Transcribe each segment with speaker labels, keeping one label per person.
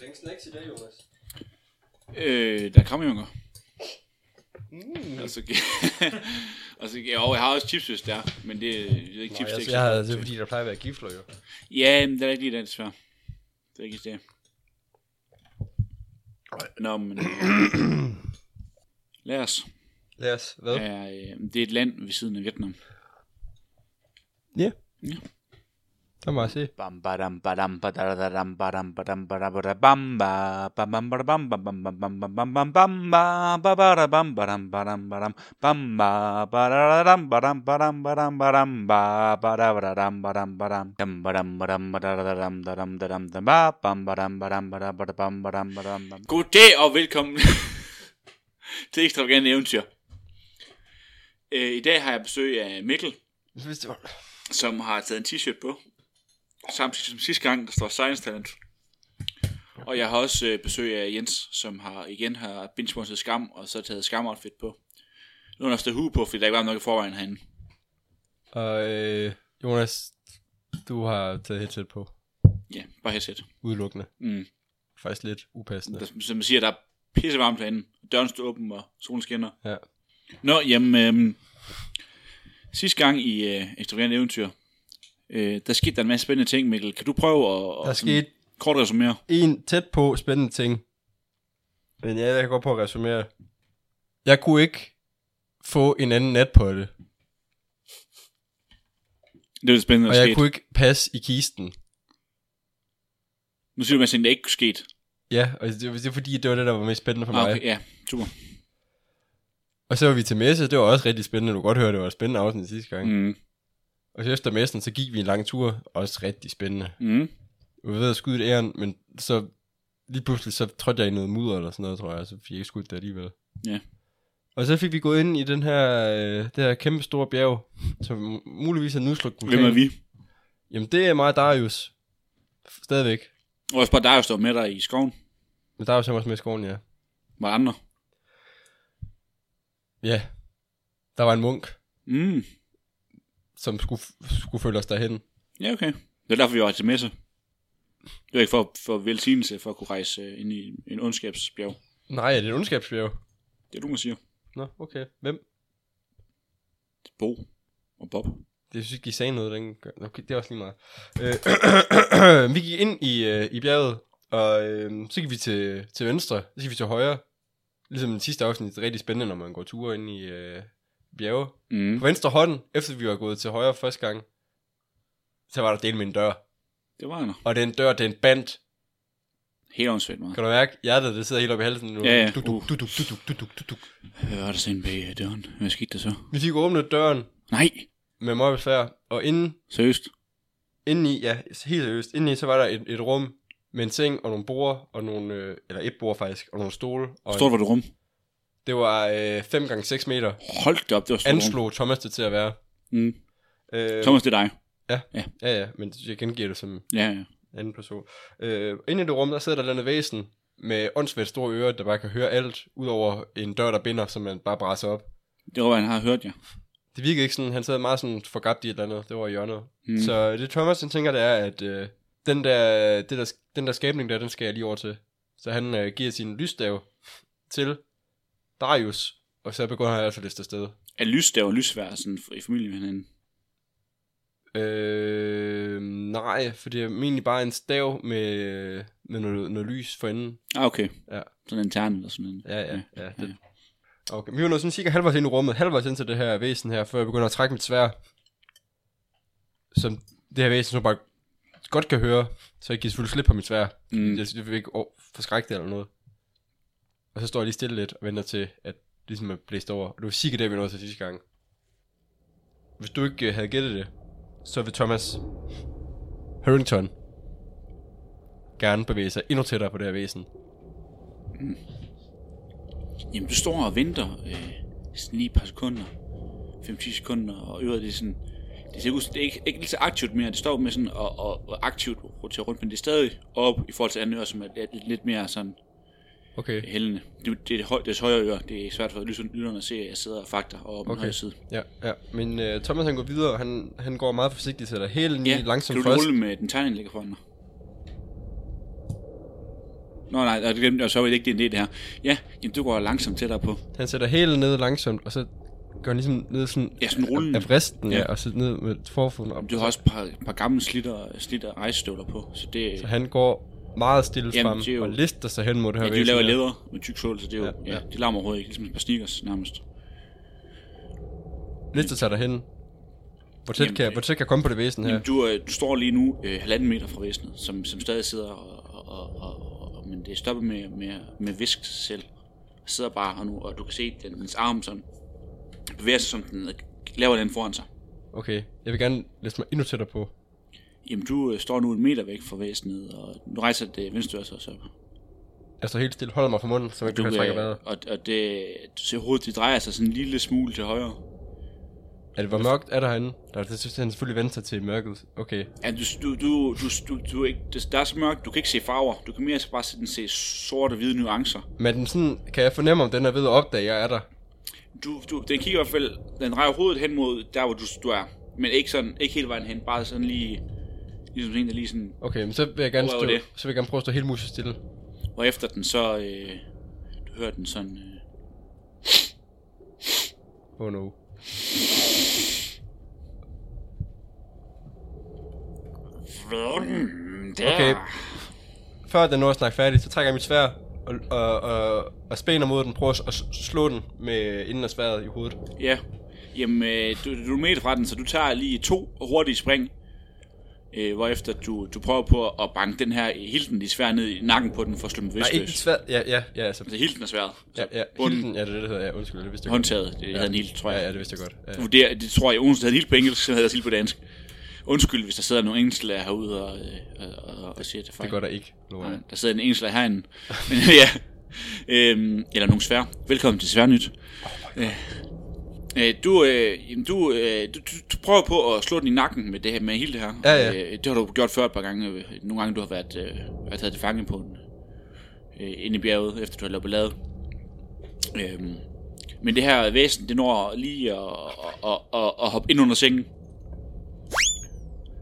Speaker 1: fik snacks i dag, Jonas.
Speaker 2: Øh, der er kramjunker.
Speaker 3: Mm.
Speaker 2: Og så, og så, jo, jeg har også chips, der, men det, det er ikke
Speaker 3: Nej,
Speaker 2: chips,
Speaker 3: jeg,
Speaker 2: det
Speaker 3: jeg
Speaker 2: er
Speaker 3: havde,
Speaker 2: ikke
Speaker 3: det er
Speaker 2: så-
Speaker 3: fordi, der plejer at være gifler jo.
Speaker 2: Ja, men det er ikke lige den, desværre. Det er ikke det. Nå, men... øh, Lad os.
Speaker 3: Lad os, hvad? Ja.
Speaker 2: Er, øh, det er et land ved siden af Vietnam.
Speaker 3: Der må jeg se.
Speaker 4: Bam badam badam badadadam badam badam badabadabam ba bam bam badabam bam bam bam bam bam bam bam bam ba ba badabam badam badam badam bam ba badadadam badam badam badam badam ba badabadadam badam badam dam badam badam badadadam dadam dadam dam ba bam badam badam badabadabam badam badam bam.
Speaker 2: Goddag og velkommen til Ekstravagante Eventyr. Øh, I dag har jeg besøg af Mikkel,
Speaker 3: Hvis det var...
Speaker 2: som har taget en t-shirt på. Samtidig som sidste gang, der står Science Talent. Og jeg har også øh, besøg af Jens, som har igen har binge skam, og så taget skam outfit på. Nu har han også taget hue på, fordi der ikke var nok i forvejen herinde.
Speaker 3: Og øh, Jonas, du har taget headset på.
Speaker 2: Ja, bare headset.
Speaker 3: Udelukkende.
Speaker 2: Mm.
Speaker 3: Faktisk lidt upassende.
Speaker 2: Der, som man siger, der er pisse varmt herinde. Døren står åben, og solen skinner.
Speaker 3: Ja.
Speaker 2: Nå, jamen, øhm, sidste gang i øh, Ekstravagant Eventyr, øh, der skete der en masse spændende ting, Mikkel. Kan du prøve at,
Speaker 3: Der
Speaker 2: at sådan
Speaker 3: skete
Speaker 2: kort resumere?
Speaker 3: en tæt på spændende ting. Men ja, jeg kan godt prøve at resumere. Jeg kunne ikke få en anden nat på det.
Speaker 2: Det er lidt spændende,
Speaker 3: Og
Speaker 2: der er
Speaker 3: jeg
Speaker 2: sket.
Speaker 3: kunne ikke passe i kisten.
Speaker 2: Nu siger du, at det ikke kunne sket.
Speaker 3: Ja, og det, det er fordi, det var det, der var mest spændende for mig.
Speaker 2: Ah, okay, ja, super.
Speaker 3: Og så var vi til messe, det var også rigtig spændende. Du kan godt høre, det var et spændende afsnit sidste gang. Mm.
Speaker 2: Mm.
Speaker 3: Og så efter messen, så gik vi en lang tur, også rigtig spændende.
Speaker 2: Mm.
Speaker 3: Jeg ved at skyde et æren, men så lige pludselig, så trådte jeg i noget mudder eller sådan noget, tror jeg, så fik jeg ikke skudt det alligevel.
Speaker 2: Ja.
Speaker 3: Og så fik vi gået ind i den her, øh, det her kæmpe store bjerg, som muligvis er en udslugt vulkan.
Speaker 2: Hvem er vi?
Speaker 3: Jamen, det er mig og Darius. Stadigvæk.
Speaker 2: Og også bare dig, der står med dig i skoven.
Speaker 3: Men Darius er også med i skoven, ja.
Speaker 2: Var andre.
Speaker 3: Ja. Der var en munk,
Speaker 2: Mm.
Speaker 3: som skulle, skulle følge os derhen.
Speaker 2: Ja, okay. Det er derfor, vi var til messe. Det var ikke for, for velsignelse for at kunne rejse øh, ind i en ondskabsbjerg.
Speaker 3: Nej, er det en ondskabsbjerg?
Speaker 2: Det er du, man siger.
Speaker 3: Nå, okay. Hvem?
Speaker 2: Bo og Bob.
Speaker 3: Det synes ikke, I sagde noget, den gør. Okay, det er også lige meget. Øh, vi gik ind i, øh, i bjerget, og øh, så gik vi til, til venstre, så gik vi til højre. Ligesom den sidste afsnit, det er rigtig spændende, når man går ture ind i øh, bjerge.
Speaker 2: Mm.
Speaker 3: På venstre hånd, efter vi var gået til højre første gang, så var der del med en dør.
Speaker 2: Det var han.
Speaker 3: Og den dør, den bandt.
Speaker 2: Helt åndssvagt meget.
Speaker 3: Kan du mærke, hjertet det sidder helt op i halsen nu?
Speaker 2: Ja, Uh.
Speaker 3: Du,
Speaker 2: ja.
Speaker 3: du,
Speaker 2: Uh.
Speaker 3: du, du, du, du, du, du, du.
Speaker 2: Jeg hørte sådan bag øh, døren. Hvad skete der så?
Speaker 3: Vi fik åbnet døren
Speaker 2: Nej,
Speaker 3: med meget besvær, og inden,
Speaker 2: seriøst.
Speaker 3: indeni, ja, helt seriøst, indeni, så var der et, et rum med en seng og nogle borde, og nogle, øh, eller et bord faktisk, og nogle stole. Og
Speaker 2: Hvor stort var det rum?
Speaker 3: Det var øh, 5 gange 6 meter.
Speaker 2: Hold da op, det var et stort rum.
Speaker 3: Anslog Thomas det til at være.
Speaker 2: Mm.
Speaker 3: Øh,
Speaker 2: Thomas, det er dig.
Speaker 3: Ja, ja, men jeg gengiver det som
Speaker 2: Ja, ja.
Speaker 3: anden person. Øh, inde i det rum, der sidder der et eller andet væsen med åndssvagt store ører, der bare kan høre alt, udover en dør, der binder, som man bare brænder op.
Speaker 2: Det var, hvad han har hørt, ja.
Speaker 3: Det virkede ikke sådan, han sad meget sådan forgabt i et eller andet, det var i hjørnet.
Speaker 2: Mm.
Speaker 3: Mm. Så det Thomas han tænker, det er, at øh, den, der, det der, den der skabning der, den skal jeg lige over til. Så han øh, giver sin lysstave til Darius, og så begynder han altså at liste afsted.
Speaker 2: Er lys, der var lysvær sådan i familien med hinanden.
Speaker 3: Øh, nej, for det er egentlig bare en stav med, med noget, noget lys for enden.
Speaker 2: Ah, okay.
Speaker 3: Ja.
Speaker 2: Sådan en tern eller sådan en.
Speaker 3: Ja, ja, ja. ja,
Speaker 2: ja.
Speaker 3: det. Okay, vi var nået sådan cirka halvvejs ind i rummet, halvvejs ind til det her væsen her, før jeg begynder at trække mit svær. Som det her væsen så bare godt kan høre, så jeg giver selvfølgelig slip på mit svær.
Speaker 2: Mm.
Speaker 3: Mm. Jeg, jeg vil ikke over- forskrække det eller noget. Og så står jeg lige stille lidt og venter til, at det ligesom er blæst over. Og det var cirka det, vi nåede til sidste gang. Hvis du ikke øh, havde gættet det, så vil Thomas Harrington gerne bevæge sig endnu tættere på det her væsen.
Speaker 2: Jamen, du står og venter øh, sådan lige et par sekunder. 5-10 sekunder, og øret det er sådan... Det ser ud som- det er ikke, ikke lige så aktivt mere. Det står med sådan og, og, og aktivt roterer rundt, men det er stadig op i forhold til andet øre, som er lidt, lidt mere sådan
Speaker 3: Okay.
Speaker 2: hældende. Det, det er det, høj, det højre øre. Det er svært for lytterne lytterne at se, at jeg sidder og fakter og op okay.
Speaker 3: Okay.
Speaker 2: højre side.
Speaker 3: Ja, ja. Men øh, Thomas han går videre, og han, han går meget forsigtigt til dig. Helt lige langsomt
Speaker 2: kan du
Speaker 3: først.
Speaker 2: rulle med den tegning, der ligger foran dig? Nå nej, og, det glemte, jeg, og så var det ikke din idé det her. Ja, jamen du går langsomt tættere på.
Speaker 3: Han sætter hælen ned langsomt, og så går han ligesom ned sådan,
Speaker 2: Ja, sådan rullen.
Speaker 3: af vristen, ja.
Speaker 2: Ja.
Speaker 3: ja, og så ned med forfoden op.
Speaker 2: Du har også et par, par gamle slitter, slitter rejsestøvler på, så det...
Speaker 3: Så han går meget stille
Speaker 2: Jamen,
Speaker 3: frem
Speaker 2: det er jo-
Speaker 3: og lister sig hen mod det her
Speaker 2: Ja, de
Speaker 3: væsen
Speaker 2: laver
Speaker 3: her.
Speaker 2: læder med tyk sål, så det er jo, ja,
Speaker 3: Ja,
Speaker 2: ja.
Speaker 3: ja.
Speaker 2: det larmer overhovedet ikke, ligesom et par sneakers nærmest.
Speaker 3: Lister sig derhen. Hvor tæt,
Speaker 2: Jamen,
Speaker 3: kan,
Speaker 2: det-
Speaker 3: hvor tæt kan jeg komme på det væsen her?
Speaker 2: Jamen, du, øh, du står lige nu øh, halvanden meter fra væsenet, som, som stadig sidder og, og, og, og men det er stoppet med, med, med visk selv. Og sidder bare her nu, og du kan se den, dens arm sådan bevæger sig, som den øh, laver den foran sig.
Speaker 3: Okay, jeg vil gerne liste mig endnu tættere på.
Speaker 2: Jamen, du øh, står nu en meter væk fra væsenet, og nu rejser det venstre øre sig også op.
Speaker 3: Jeg står helt stille, holder mig for munden, så jeg ikke
Speaker 2: Du, øh,
Speaker 3: kan trække vejret.
Speaker 2: og, og det, du ser hovedet, det drejer sig sådan en lille smule til højre.
Speaker 3: Er det, hvor mørkt er der herinde? Der er det, han selvfølgelig venter sig til mørket. Okay,
Speaker 2: Ja, du, du, du, du, du, du er ikke, det- der er så mørkt, du kan ikke se farver. Du kan mere bare se, den se sorte og hvide nuancer.
Speaker 3: men den sådan, kan jeg fornemme, om den er ved at opdage, at jeg er der?
Speaker 2: Du, du, den kigger i hvert fald, den drejer hovedet hen mod der, hvor du, du er. Men ikke, sådan, ikke hele vejen hen, bare sådan lige, ligesom sådan en, der lige sådan...
Speaker 3: Okay, men så vil jeg gerne,
Speaker 2: Hvor er
Speaker 3: stå,
Speaker 2: det?
Speaker 3: så vil jeg gerne prøve at stå helt muset stille.
Speaker 2: Og efter den så, øh, du hører den sådan... Øh,
Speaker 3: Oh no.
Speaker 2: Ah. øh. "Vrøn, der."
Speaker 3: Okay. Før den når at snakke færdigt, så trækker jeg mit svær og, og, og, og spænder mod den, prøver at s- slå den med inden af sværet i hovedet.
Speaker 2: Ja. Jamen, øh, du, du er meter fra den, så du tager lige to hurtige spring. Øh, hvorefter du, du prøver på at banke den her hilden i svær ned i nakken på den for at slå den
Speaker 3: Nej,
Speaker 2: bevidstløs.
Speaker 3: ikke mit svær. Ja, ja, ja, altså.
Speaker 2: Altså hilden er sværet.
Speaker 3: Ja, ja,
Speaker 2: bunden-
Speaker 3: hilden, ja, det er det, der hedder. Ja, undskyld, det vidste jeg godt.
Speaker 2: Håndtaget, det ja. havde en hilt, tror jeg.
Speaker 3: Ja, ja, det vidste jeg godt. Ja.
Speaker 2: Du vurderer, det tror jeg, Odense havde en hilt på engelsk, så havde jeg også hilt på dansk. Undskyld, hvis der sidder nogle engelsklærer herude og, øh, og, og, og siger det
Speaker 3: Det
Speaker 2: fejl.
Speaker 3: gør der ikke, lover
Speaker 2: Nej,
Speaker 3: jeg.
Speaker 2: der sidder en engelsklærer herinde. Men ja, øhm, eller nogle svær. Velkommen til Sværnyt. Øh, øh, du, øh, jamen, du, øh, du, du, du, prøver på at slå den i nakken med det her, med hele det her.
Speaker 3: Ja, ja.
Speaker 2: Øh, det har du gjort før et par gange. øh, Nogle gange, du har været, øh, været taget til fange på den. Øh, inde i bjerget, efter du har lavet ballade. Øhm, men det her væsen, det når lige at, at, at, at, at hoppe ind under sengen.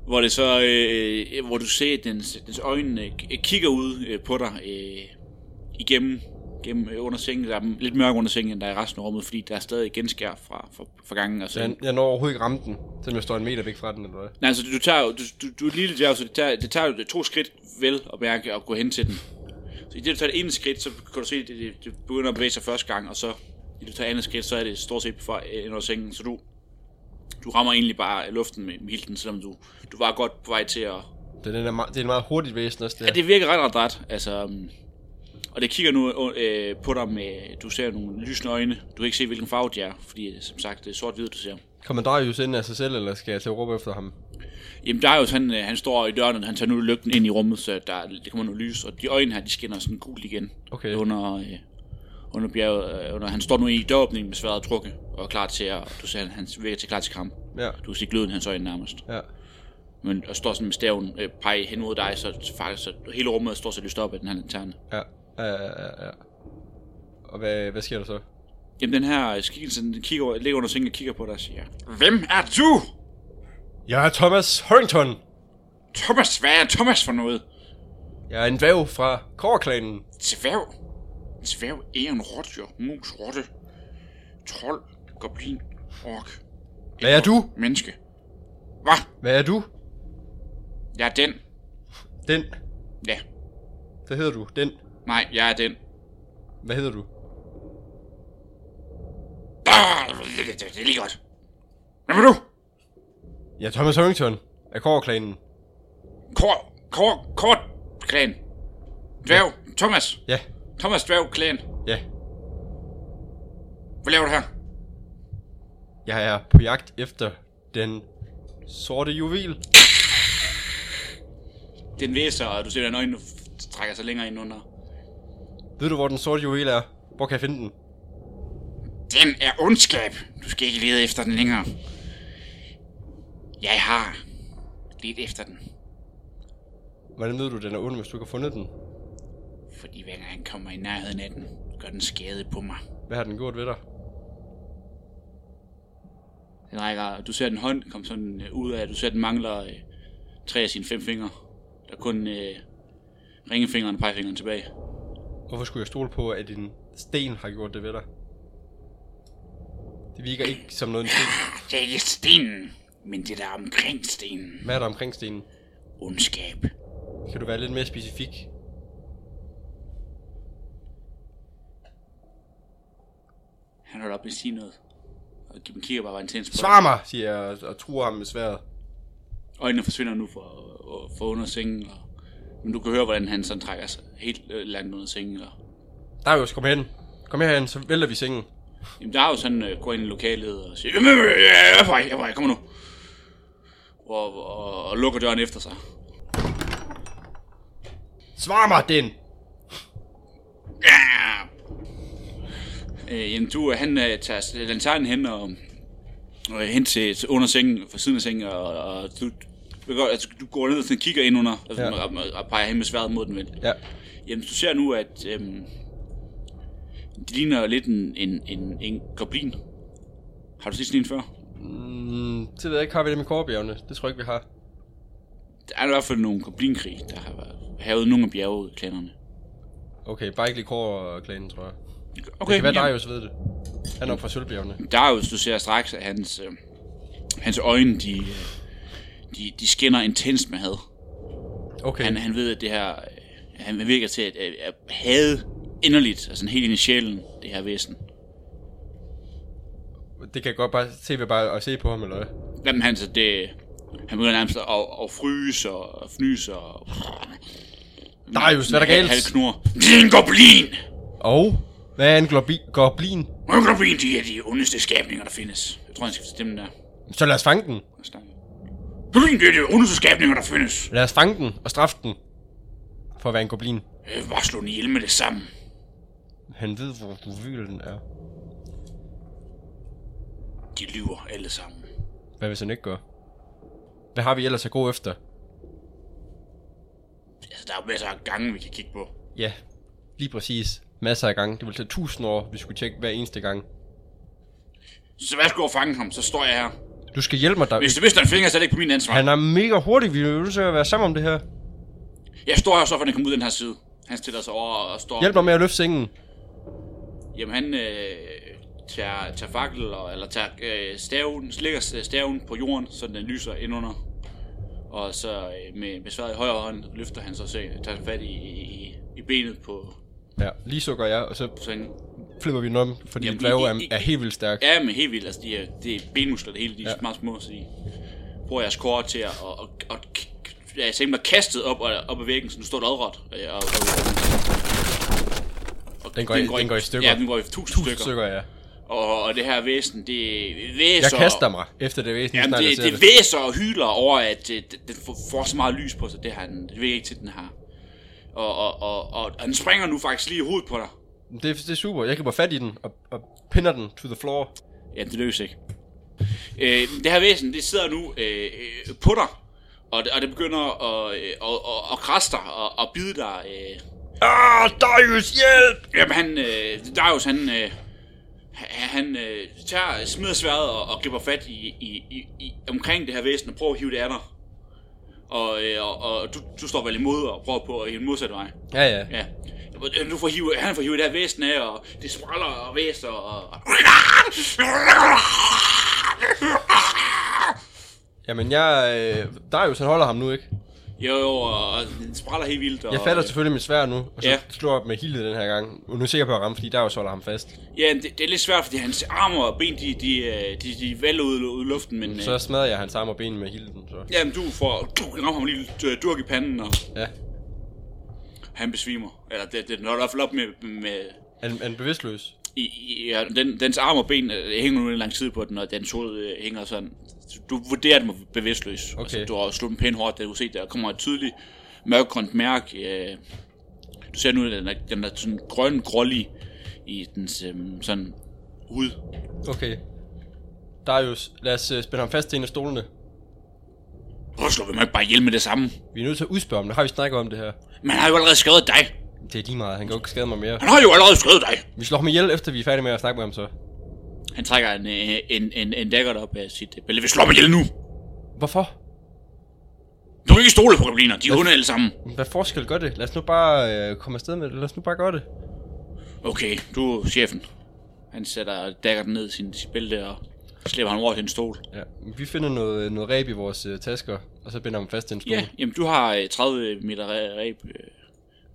Speaker 2: Hvor det så, øh, hvor du ser, at dens, dens øjne øh, kigger ud øh, på dig øh, igennem gennem, øh, under sengen. Der er lidt mørkere under sengen, end der er i resten af rummet, fordi der er stadig genskær fra, fra, fra gangen. Og
Speaker 3: Så
Speaker 2: sådan.
Speaker 3: jeg, jeg når overhovedet ikke ramme den, selvom jeg står en meter væk fra den, eller hvad?
Speaker 2: Nej, altså du tager jo, du, du, du er et lille djærv, så det tager, det tager jo to skridt vel at mærke at gå hen til den. Så i det, du tager det ene skridt, så kan du se, at det, det, det begynder at bevæge sig første gang, og så i det, du tager andet skridt, så er det stort set for under sengen, så du, du rammer egentlig bare luften med med hilden, selvom du, du var godt på vej til at...
Speaker 3: Det er, den der, me- det er en meget hurtigt væsen også, det,
Speaker 2: Ja,
Speaker 3: her.
Speaker 2: det virker ret ret ret, altså... mm, Og det kigger nu øh, på dig med, du ser nogle lysende øjne, du kan ikke se, hvilken farve de er, fordi øh, som sagt, det er sort-hvid, du ser.
Speaker 3: Kommer Darius ind af sig selv, eller skal jeg til at råbe efter ham?
Speaker 2: Jamen, der er jo sådan, øh, han står i døren, og han tager nu lygten ind i rummet, så der, det kommer noget lys, og de øjne her, de skinner sådan gult igen.
Speaker 3: Okay.
Speaker 2: Under, øh, under bjerget, øh, under, han står nu i døråbningen med sværet trukket, og er klar til at, du ser, han, han virker til klar til kamp.
Speaker 3: Ja,
Speaker 2: Du kan se gløden i hans øjne nærmest.
Speaker 3: ja.
Speaker 2: Men, og står sådan med staven, øh, peger hen mod dig, så, så faktisk, så hele rummet står så lyst op af den her lanterne.
Speaker 3: Ja, ja, ja, ja, ja. Og hvad, hvad sker der så?
Speaker 2: Jamen, den her øh, skikkelse, den kigger, over- ligger under sengen og kigger på dig og siger, Hvem er du?
Speaker 3: Jeg er Thomas Harrington!
Speaker 2: Thomas, hvad er Thomas for noget?
Speaker 3: Jeg er en dværg fra Kåreklanen.
Speaker 2: Dværg. Dværg, æren, rådyr, mus, rotte, trold, goblin, ork.
Speaker 3: Hvad er du?
Speaker 2: Menneske. Hvad?
Speaker 3: Hvad er du?
Speaker 2: Jeg er den.
Speaker 3: Den.
Speaker 2: Ja.
Speaker 3: Hvad hedder du? Den.
Speaker 2: Nej, jeg er den.
Speaker 3: Hvad hedder du?
Speaker 2: Ah, det, det, det, det er lige godt. Hvem er du?
Speaker 3: Jeg er Thomas Harrington af Kåreklanen.
Speaker 2: Kor, kor, kort, klan. Dværg, Thomas.
Speaker 3: Ja,
Speaker 2: Thomas Dværg, klan.
Speaker 3: ja.
Speaker 2: Hvad laver du her?
Speaker 3: Jeg er på jagt efter den sorte juvel.
Speaker 2: Den væser, og du ser, at øjnene trækker sig længere ind under.
Speaker 3: Ved du, hvor den sorte juvel er? Hvor kan jeg finde den?
Speaker 2: Den er ondskab. Du skal ikke lede efter den længere. Jeg har lidt efter den.
Speaker 3: Hvordan ved du, den er ond, hvis du ikke har fundet den?
Speaker 2: Fordi hver gang han kommer i nærheden af den, gør den skade på mig.
Speaker 3: Hvad har den gjort ved dig?
Speaker 2: Den rækker, du ser den hånd komme sådan øh, ud af, du ser den mangler øh, tre af sine fem fingre. Der er kun øh, ringefingeren og pegefingeren tilbage.
Speaker 3: Hvorfor skulle jeg stole på, at en sten har gjort det ved dig? Det virker ikke som noget en sten.
Speaker 2: Altså, Det er ikke stenen, men det der er omkring stenen.
Speaker 3: Hvad er der omkring stenen?
Speaker 2: Ondskab.
Speaker 3: Kan du være lidt mere specifik?
Speaker 2: Han holder op med at sige noget. Og Kim kigger bare intens på
Speaker 3: Svar mig, siger jeg og, og truer ham med sværet.
Speaker 2: ham. Øjnene forsvinder nu fra, fra under sengen. Og, men du kan høre, hvordan han sådan trækker sig helt øh, langt under sengen. Og,
Speaker 3: Darius, kom hen. Kom herhen, så vælter vi sengen.
Speaker 2: Jamen, der er jo sådan, øh, går ind i lokalet og siger, "Jamen, øh, øh, jeg er på vej, jeg er på vej, kom nu. Og, og, og lukker døren efter sig.
Speaker 3: Svar mig, den!
Speaker 2: Ja! Øh, jamen, du, øh, han øh, tager lanternen hen og, og hen til, til under sengen, for siden af sengen, og, og du, begår, altså, du går ned og sådan kigger ind under, altså,
Speaker 3: Ja.
Speaker 2: ja. og, og, og peger hen med sværet mod den. Vel?
Speaker 3: Ja.
Speaker 2: Jamen, du ser nu, at øhm, det ligner jo lidt en, en, en, en goblin. Har du set sådan en før?
Speaker 3: Mm, det ved jeg ikke, har vi det med korbjergene? Det tror jeg ikke, vi har.
Speaker 2: Der er i hvert fald nogle goblinkrig, der har været- havet nogle af bjergeklænderne.
Speaker 3: Okay, bare ikke lige kår-klanen, tror jeg.
Speaker 2: Okay,
Speaker 3: Det kan være,
Speaker 2: jamen,
Speaker 3: Darius ved det. Han er oppe fra sølvbjergene.
Speaker 2: Darius, du ser straks, at hans, øh, hans øjne, de, øh, de, de skinner intenst med had.
Speaker 3: Okay,
Speaker 2: Han, han ved, at det her, øh, han virker til at, at, at hade inderligt, altså helt ind i sjælen, det her væsen.
Speaker 3: det kan jeg godt bare se ved bare at se på ham, eller hvad?
Speaker 2: Jamen, han, så det, han begynder nærmest at, at fryse og fnyse og...
Speaker 3: Darius, hvad er der galt?
Speaker 2: Halvknur. Det er en goblin!
Speaker 3: Og? Hvad er en globi- goblin?
Speaker 2: Goblin, de er de ondeste skabninger, der findes. Jeg tror, han skal forstemme den der.
Speaker 3: Så lad os fange den.
Speaker 2: og snakke. Goblin, det er de ondeste skabninger, der findes.
Speaker 3: Lad os fange den og straffe den. For at være en goblin.
Speaker 2: Jeg vil bare slå den ihjel med det samme.
Speaker 3: Han ved, hvor mobil den er.
Speaker 2: De lyver alle sammen.
Speaker 3: Hvad hvis han ikke gør? Hvad har vi ellers at gå efter?
Speaker 2: Altså, der er jo masser af gange, vi kan kigge på.
Speaker 3: Ja, lige præcis. Masser af gange. Det ville tage tusind år, hvis vi skulle tjekke hver eneste gang.
Speaker 2: Så hvad skulle jeg fange ham? Så står jeg her.
Speaker 3: Du skal hjælpe mig, der.
Speaker 2: Hvis du vidste, han finger, så er det ikke på min ansvar.
Speaker 3: Han er mega hurtig. Vi er nødt til at være sammen om det her.
Speaker 2: Jeg står her så, for den kommer ud den her side. Han stiller sig over og står...
Speaker 3: Hjælp mig med at løfte sengen.
Speaker 2: Jamen, han øh, tager, tager fakkel, og, eller tager øh, staven, slikker øh, staven på jorden, så den lyser indenunder. Og så øh, med, med sværet i højre hånd løfter han så sengen, tager fat i, i, i benet på
Speaker 3: Ja, lige sukker jeg, og så
Speaker 2: sengen.
Speaker 3: flipper vi den om, fordi
Speaker 2: Jamen,
Speaker 3: Jamen, Greve
Speaker 2: i-
Speaker 3: er,
Speaker 2: i-
Speaker 3: er helt vildt stærk.
Speaker 2: Ja, men helt vildt. Altså, de er, det er benmuskler, det hele. De er
Speaker 3: Ja.
Speaker 2: ja. meget små, så de bruger jeres kort til at... Og, og, og ja, jeg bliver kastet op, og, op ad væggen, så nu står der adret. Og, og, og,
Speaker 3: Den går i- den går i stykker.
Speaker 2: Ja, den går i tusind,
Speaker 3: Tusind
Speaker 2: stykker.
Speaker 3: sukker jeg.
Speaker 2: Og, og det her væsen, det
Speaker 3: Jeg
Speaker 2: væser...
Speaker 3: kaster mig, efter det væsen,
Speaker 2: Jamen,
Speaker 3: snart jeg
Speaker 2: det,
Speaker 3: ser
Speaker 2: det
Speaker 3: det.
Speaker 2: væser og hyler over, at øh, det, den får, får så meget lys på sig. Det, har den, det virker ikke til, den har. Og, og, og, og, og den springer nu faktisk lige i hovedet på dig.
Speaker 3: Det, det er super. Jeg griber fat i den, og, og pinder den to the floor.
Speaker 2: Ja, det lykkes ikke. Øh, det her væsen, det sidder nu øh, øh, på dig, og det, og det begynder at, øh, at, at, at krasse dig og at bide dig. Øh.
Speaker 3: Ah, Darius, hjælp!
Speaker 2: Jamen, han, øh, Darius, han, øh, han- han øh, tager, smider sværet og, og griber fat i, i, i, i, omkring det her væsen og prøver at hive det af dig. Og, øh, og, og du, du står vel imod og prøver på at hive den modsatte vej.
Speaker 3: Ja, ja.
Speaker 2: Ja. Du får hive, han får hivet det her væsen af, og det spræller og væser, og...
Speaker 3: Jamen, jeg... Øh, Darius, han holder ham nu, ikke?
Speaker 2: Jo, jo, og den spræller helt vildt. Og, øh,
Speaker 3: Jeg fatter selvfølgelig mit svær nu, og så
Speaker 2: Ja.
Speaker 3: slår jeg med hildet den her gang. Og nu er jeg sikker på at ramme, fordi Darius holder ham fast.
Speaker 2: Ja, det, det, er lidt svært, fordi hans arme og ben, de, de, øh, de, de vælger ud, ud i luften, men...
Speaker 3: Så
Speaker 2: Øh,
Speaker 3: smadrer jeg hans arm og ben med hilden, så.
Speaker 2: jamen, du får... Du rammer ham lige øh, durk i panden, og
Speaker 3: Ja.
Speaker 2: han besvimer. Eller det, det den holder i hvert fald op med... med
Speaker 3: Er den, er den bevidstløs?
Speaker 2: i, i, ja, den, dens arme og ben øh, hænger nu en lang tid på den, og dens hoved øh, hænger sådan. Du vurderer den var bevidstløs.
Speaker 3: Okay.
Speaker 2: Altså, du har slået den pænt hårdt, det har du set, der kommer et tydeligt mørkgrønt mærke. Øh, du ser nu, at den er, den er sådan grøn grålig i dens øh, sådan hud.
Speaker 3: Okay. Darius, lad os øh, spænde ham fast til en af stolene.
Speaker 2: Hvorfor slår vi mig ikke bare ihjel med det samme?
Speaker 3: Vi er nødt til at udspørge ham, der har vi snakket om det her.
Speaker 2: Men han har jo allerede skrevet dig.
Speaker 3: Det er lige meget, han kan jo ikke skade mig mere.
Speaker 2: Han har jo allerede skrevet dig.
Speaker 3: Vi slår ham ihjel, efter vi er færdige med at snakke med ham så.
Speaker 2: Han trækker en, øh, en, en, en dagger op af sit øh, bælte. Vi slår mig ihjel nu.
Speaker 3: Hvorfor?
Speaker 2: Du kan ikke stole på gobliner, de er onde alle sammen.
Speaker 3: Hvad forskel gør det? Lad os nu bare øh, komme afsted med det. Lad os nu bare gøre det.
Speaker 2: Okay, du er chefen. Han sætter daggeren ned i sin, sin bælte og slipper ham over til en stol.
Speaker 3: Ja. Vi finder noget, noget ræb i vores øh, tasker, og så binder ham fast til en stol.
Speaker 2: Ja, jamen du har øh, 30 meter re- ræb øh,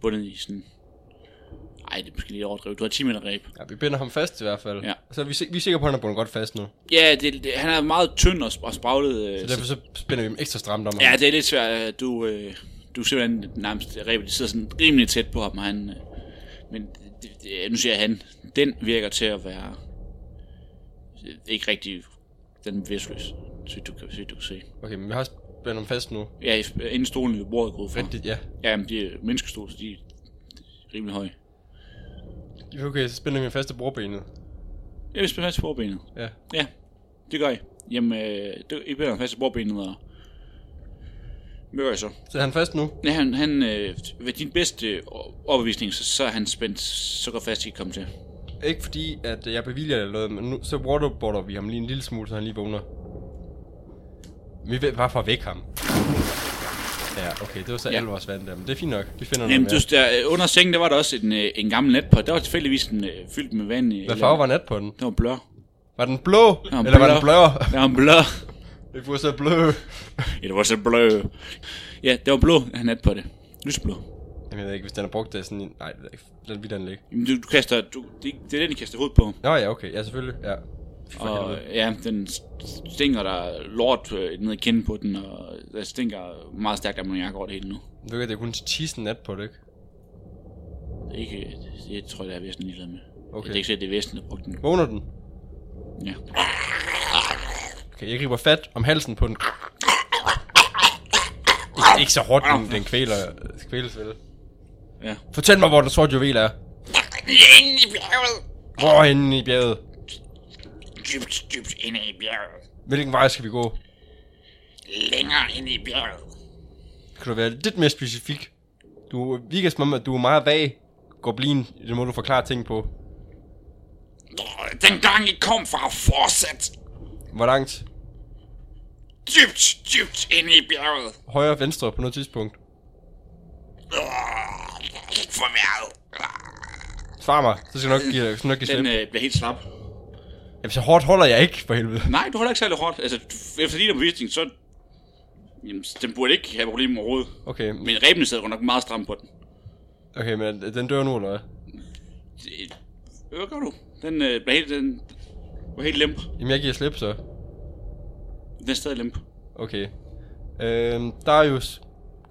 Speaker 2: bundet i sådan... Ej, det er måske lidt overdrevet. Du har 10 meter ræb.
Speaker 3: Ja, vi binder ham fast i hvert fald.
Speaker 2: Ja.
Speaker 3: Så er vi, sik- vi er sikre på, at han er bundet godt fast nu.
Speaker 2: Ja, det, det, han er meget tynd og, sp- og spraglet. Øh,
Speaker 3: Så derfor så spænder vi ham ekstra stramt om ham.
Speaker 2: Ja, det er lidt svært. øh, Du, øh, du er simpelthen nærmest rebet. De sidder sådan rimelig tæt på ham, og han... Øh, men det, det, nu siger jeg han. Den virker til at være... øh, Ikke rigtig... Den er virsløs, så vidt du, kan- så vidt du kan se.
Speaker 3: Okay, men vi har spændt ham fast nu.
Speaker 2: Ja, i- inden stolen ved bordet er gået fra.
Speaker 3: Rigtigt, ja.
Speaker 2: Ja, men de er menneskestol, så de er rimelig høje.
Speaker 3: Okay, så spænder vi ham fast til bordbenet.
Speaker 2: Jeg vil spille fast til forbenet.
Speaker 3: Ja.
Speaker 2: Ja, det gør I. Jamen, øh, det, I binder ham fast til bordbenet, og... Hvad gør I så?
Speaker 3: Så er han fast nu?
Speaker 2: Ja, han, han øh, ved din bedste overbevisning, så, så er han spændt så godt fast, I kan komme til.
Speaker 3: Ikke fordi, at jeg bevilger eller noget, men nu, så waterboarder vi ham lige en lille smule, så han lige vågner. Vi vil bare for væk ham. Ja, okay, det var så
Speaker 2: Ja.
Speaker 3: ja. alvorsvand der, men det er fint nok. Vi finder
Speaker 2: Jamen,
Speaker 3: noget
Speaker 2: du,
Speaker 3: mere.
Speaker 2: der, øh, under sengen, der var der også en, øh, en gammel nat på. Der var tilfældigvis en, øh, fyldt med vand. øh,
Speaker 3: Hvad
Speaker 2: eller-
Speaker 3: farve var nat på den?
Speaker 2: Den var blå.
Speaker 3: Var den blå?
Speaker 2: var
Speaker 3: eller var
Speaker 2: blå.
Speaker 3: den blå?
Speaker 2: Den var blå.
Speaker 3: Det var så blå.
Speaker 2: Ja, det var så blå. Ja, det var blå, han nat på det. Lysblå.
Speaker 3: Jamen, jeg ved ikke, hvis den er brugt af sådan en... Nej, det ved jeg ikke. lad vi den ligge.
Speaker 2: Jamen, du, du kaster, du, det, det er den, I kaster hovedet på.
Speaker 3: Nå ja, okay. Ja, selvfølgelig. Ja. For
Speaker 2: Og
Speaker 3: helvede.
Speaker 2: ja, den stinker der lort øh, ned i kinden på den, og der stinker meget stærkt ammoniak over det hele nu.
Speaker 3: Du ved, det er kun tisen nat på det, ikke?
Speaker 2: Det er ikke, det tror jeg, der er Vesten ligeglad med. Okay.
Speaker 3: Okay.
Speaker 2: Det er ikke sikkert, det er Vesten, der brugte den.
Speaker 3: Vågner den?
Speaker 2: Ja.
Speaker 3: Okay, jeg griber fat om halsen på den. Ikke, ikke så hårdt, den, den kvæler, kvæles vel.
Speaker 2: ja.
Speaker 3: Fortæl mig, hvor den sorte juvel er.
Speaker 1: Inde i bjerget.
Speaker 3: Hvor er henne i bjerget?
Speaker 1: Dybt, dybt inde i bjerget.
Speaker 3: Hvilken vej skal vi gå?
Speaker 1: Længere inde i bjerget.
Speaker 3: Kan du være lidt mere specifik? Du virker som om, at du er meget vag. Goblin, det må du forklare ting på.
Speaker 1: Den gang I kom fra Forsæt.
Speaker 3: Hvor langt?
Speaker 1: Dybt, dybt inde i bjerget.
Speaker 3: Højre, venstre på noget tidspunkt.
Speaker 1: Åh, Ikke for meget.
Speaker 3: Svar mig, så skal jeg nok give, så skal jeg nok give
Speaker 2: Den
Speaker 3: slip.
Speaker 2: øh, bliver helt slap.
Speaker 3: Jamen, så hårdt holder jeg ikke, for helvede.
Speaker 2: Nej, du holder ikke særlig hårdt. Altså, du- efter din bevisning, så... Jamen, den burde ikke have problemer overhovedet.
Speaker 3: Okay,
Speaker 2: Men rebene sad godt nok meget stramt på den.
Speaker 3: okay, men den dør nu, eller hvad?
Speaker 2: Det- Øh, Hvad gør du? Den øh, bliver helt... Den, var helt limp.
Speaker 3: Jamen, jeg giver slip, så.
Speaker 2: Den er stadig limp.
Speaker 3: Okay. Øhm, Darius,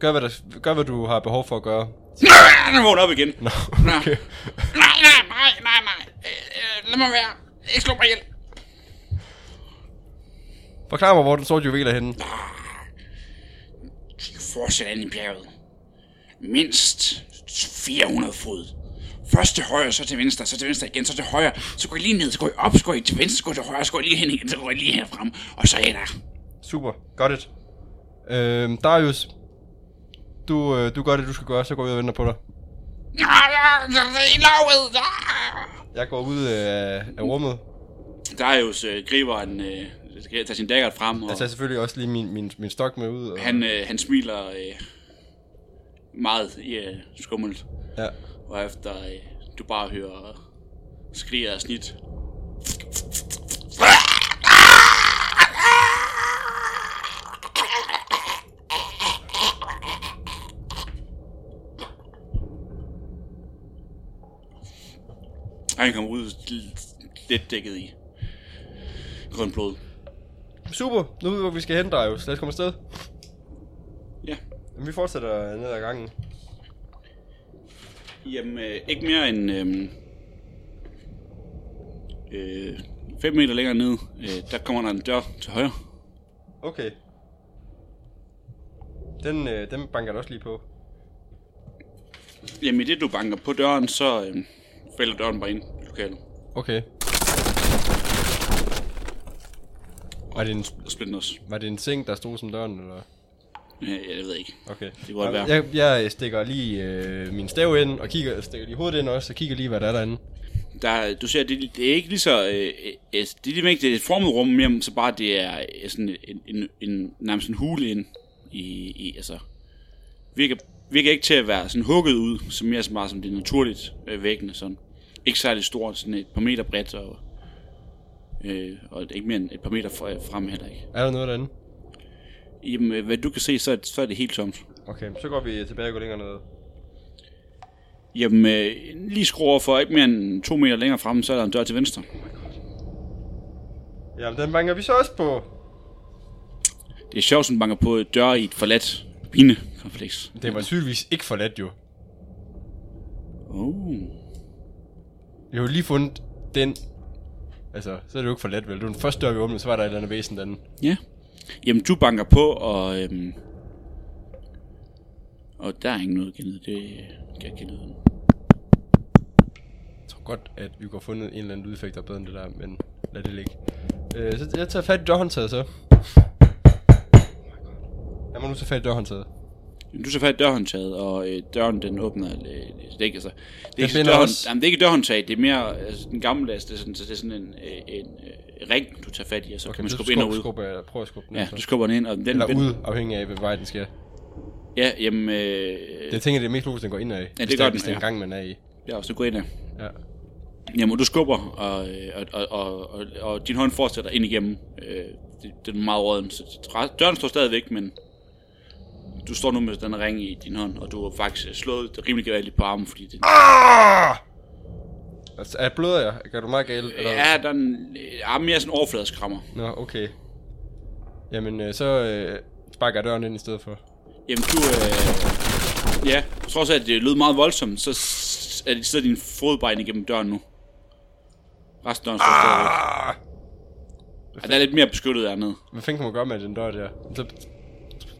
Speaker 3: gør hvad, der, gør hvad du har behov for at gøre.
Speaker 2: Ah, Den vågner op igen.
Speaker 3: Nå, okay.
Speaker 1: Nej, nej, nej, nej, nej. Øh, øh, Lad mig være. Ikke slå mig ihjel.
Speaker 3: Forklar mig, hvor den sorte juvel er henne.
Speaker 2: Fortsæt ind i bjerget. Mindst 400 fod. Først til højre, så til venstre, så til venstre igen, så til højre. Så går I lige ned, så går I op, så går I til venstre, så går I til højre, så går I lige hen igen, så går I lige herfrem. Og så er I der.
Speaker 3: Super, got it. Øhm, Darius, du, øh, du gør det, du skal gøre, så går vi ud og venter på dig.
Speaker 1: Ah, ah, Det er i lavet. Ah.
Speaker 3: Jeg går ud øh, af rummet.
Speaker 2: Darius øh, griber en, øh, tager sin dagger frem, og
Speaker 3: Jeg tager selvfølgelig også lige min, min, min stok med ud. Og,
Speaker 2: han, øh, han smiler øh, meget øh, skummelt.
Speaker 3: Ja.
Speaker 2: Og efter øh, du bare hører skriger og snit. Han kommer ud l- lidt dækket i grønt blod.
Speaker 3: Super, nu ved vi, hvor vi skal hen, Darius. Lad os komme afsted.
Speaker 2: Ja.
Speaker 3: Jamen, vi fortsætter ned ad gangen.
Speaker 2: Jamen, øh, ikke mere end 5 øh, fem meter længere ned, øh, der kommer der en dør til højre.
Speaker 3: Okay. Den, øh, den banker jeg også lige på.
Speaker 2: Jamen, i det du banker på døren, så øh, falder døren bare ind i lokalet
Speaker 3: Okay. Var det en,
Speaker 2: og splitter os.
Speaker 3: var det en seng, der stod som døren, eller?
Speaker 2: Øh, jeg ved jeg ikke.
Speaker 3: Okay.
Speaker 2: Det kunne godt være.
Speaker 3: Jeg, jeg stikker lige øh, min stav ind, og kigger, stikker lige hovedet ind også, og kigger lige, hvad der er derinde.
Speaker 2: Der, er- du ser, det, det er ikke lige så... Øh, øh, øh, det er lige ikke det er et formet rum mere, så bare det er øh, sådan en, en, en, nærmest en hule ind i i, i altså, virker, virker ikke til at være sådan hugget ud, som mere så meget som det er naturligt øh, væggende. Sådan. Ikke særlig stort, sådan et par meter bredt, og, øh, og ikke mere end et par meter fre- frem heller ikke.
Speaker 3: Er der noget derinde?
Speaker 2: Jamen, øh, hvad du kan se, så er, det- så er det helt tomt.
Speaker 3: Okay, så går vi tilbage og går længere ned.
Speaker 2: Jamen, øh, lige skru over for ikke mere end to meter længere frem, så er der en dør til venstre.
Speaker 3: Jamen, den banker vi så også på.
Speaker 2: Det er sjovt, som banker på dør i et forladt pinekompleks.
Speaker 3: Det var tydeligvis ikke forladt jo.
Speaker 2: Oh.
Speaker 3: Vi har jo lige fundet den. Altså, så er det jo ikke forladt, vel? Det var den første dør, vi åbnede, så var der et eller andet væsen derinde.
Speaker 2: Ja. Jamen, du banker på, og... Øhm, og der er ingen noget gennem. Det kan jeg kende.
Speaker 3: Jeg tror godt, at vi går fundet en eller anden lydeffekt, der er bedre end det der, men lad det ligge. Øh, så jeg tager fat i dørhåndtaget så. Jeg må nu tage fat i dørhåndtaget.
Speaker 2: Jamen, du tager fat i dørhåndtaget, og øh, døren den åbner... Øh, det er ikke, altså, det er ikke,
Speaker 3: finder
Speaker 2: dørhånd,
Speaker 3: også-
Speaker 2: jamen, det er ikke dørhåndtaget, det er mere altså, den gamle det er sådan, så det er sådan en, øh, en øh, ring, du tager fat i, og så okay, kan man
Speaker 3: så
Speaker 2: skubbe ind og
Speaker 3: skub-
Speaker 2: ud.
Speaker 3: skubber jeg, prøv at skubbe den
Speaker 2: Ja,
Speaker 3: så.
Speaker 2: du skubber den ind, og den...
Speaker 3: Eller
Speaker 2: den-
Speaker 3: ud, afhængig af, hvad vej den skal.
Speaker 2: Ja, jamen... Øh,
Speaker 3: Jeg
Speaker 2: det.
Speaker 3: tænker, det er mest logisk, den går indad. Ja, det
Speaker 2: gør den,
Speaker 3: Hvis det er
Speaker 2: ja.
Speaker 3: en gang, man er i.
Speaker 2: Ja, og så gå ind af.
Speaker 3: Ja.
Speaker 2: Jamen, du skubber, og, øh, og, og, og, og, og din hånd fortsætter ind igennem. Øh, det, den er meget råden. Så tra- døren står stadigvæk, men du står nu med den ring i din hånd, og du har faktisk øh, slået det rimelig gevaldigt på armen, fordi det,
Speaker 3: Altså, er bløder jeg? Gør du meget galt? Eller?
Speaker 2: ja, der er en, øh, armen mere sådan en overfladeskrammer.
Speaker 3: Nå, okay. Jamen, øh, så øh, sparker jeg døren ind i stedet for.
Speaker 2: Jamen, du... Øh, ja, trods at det lød meget voldsomt, så s- er det sidder din fodbein igennem døren nu. Resten af døren står stadigvæk.
Speaker 3: Ah.
Speaker 2: Ja, der er lidt mere beskyttet dernede.
Speaker 3: Hvad fanden kan man gøre med den dør der? Så